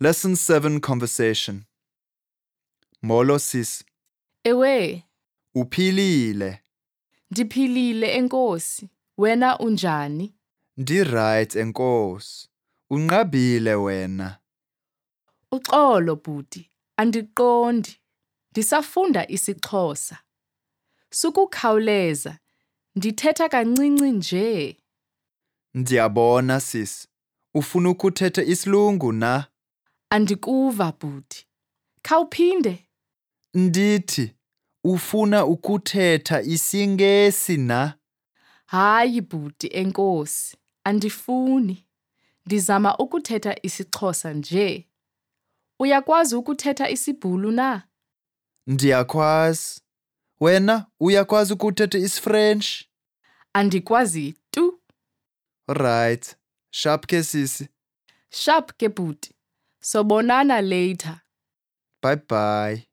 Lesson 7 Conversation. Molosis. Ewe, Uphilile. ndiphilile enkosi. Wena unjani? Ndi right enkosi. Unqabile wena. Uxolo bhuti, andiqondi. Ndisafunda isiXhosa. Sukukhawuleza. Ndithetha kancinci nje. Ndiyabona sis. Ufuna ukuthetha isilungu na? Andikuva bhuti. Khawuphinde. Ndithi ufuna ukuthetha isiNgesi na? Hayi bhuti enkosi, andifuni. Ndizama ukuthetha isiXhosa nje. Uyakwazi ukuthetha isiBhulu na? Ndiyakwazi. Wena uyakwazi ukuthetha isiFrench? Andikwazi tu. Right. Sharp ke sis. Sharp ke bhuti. Sobonana later. Bye bye.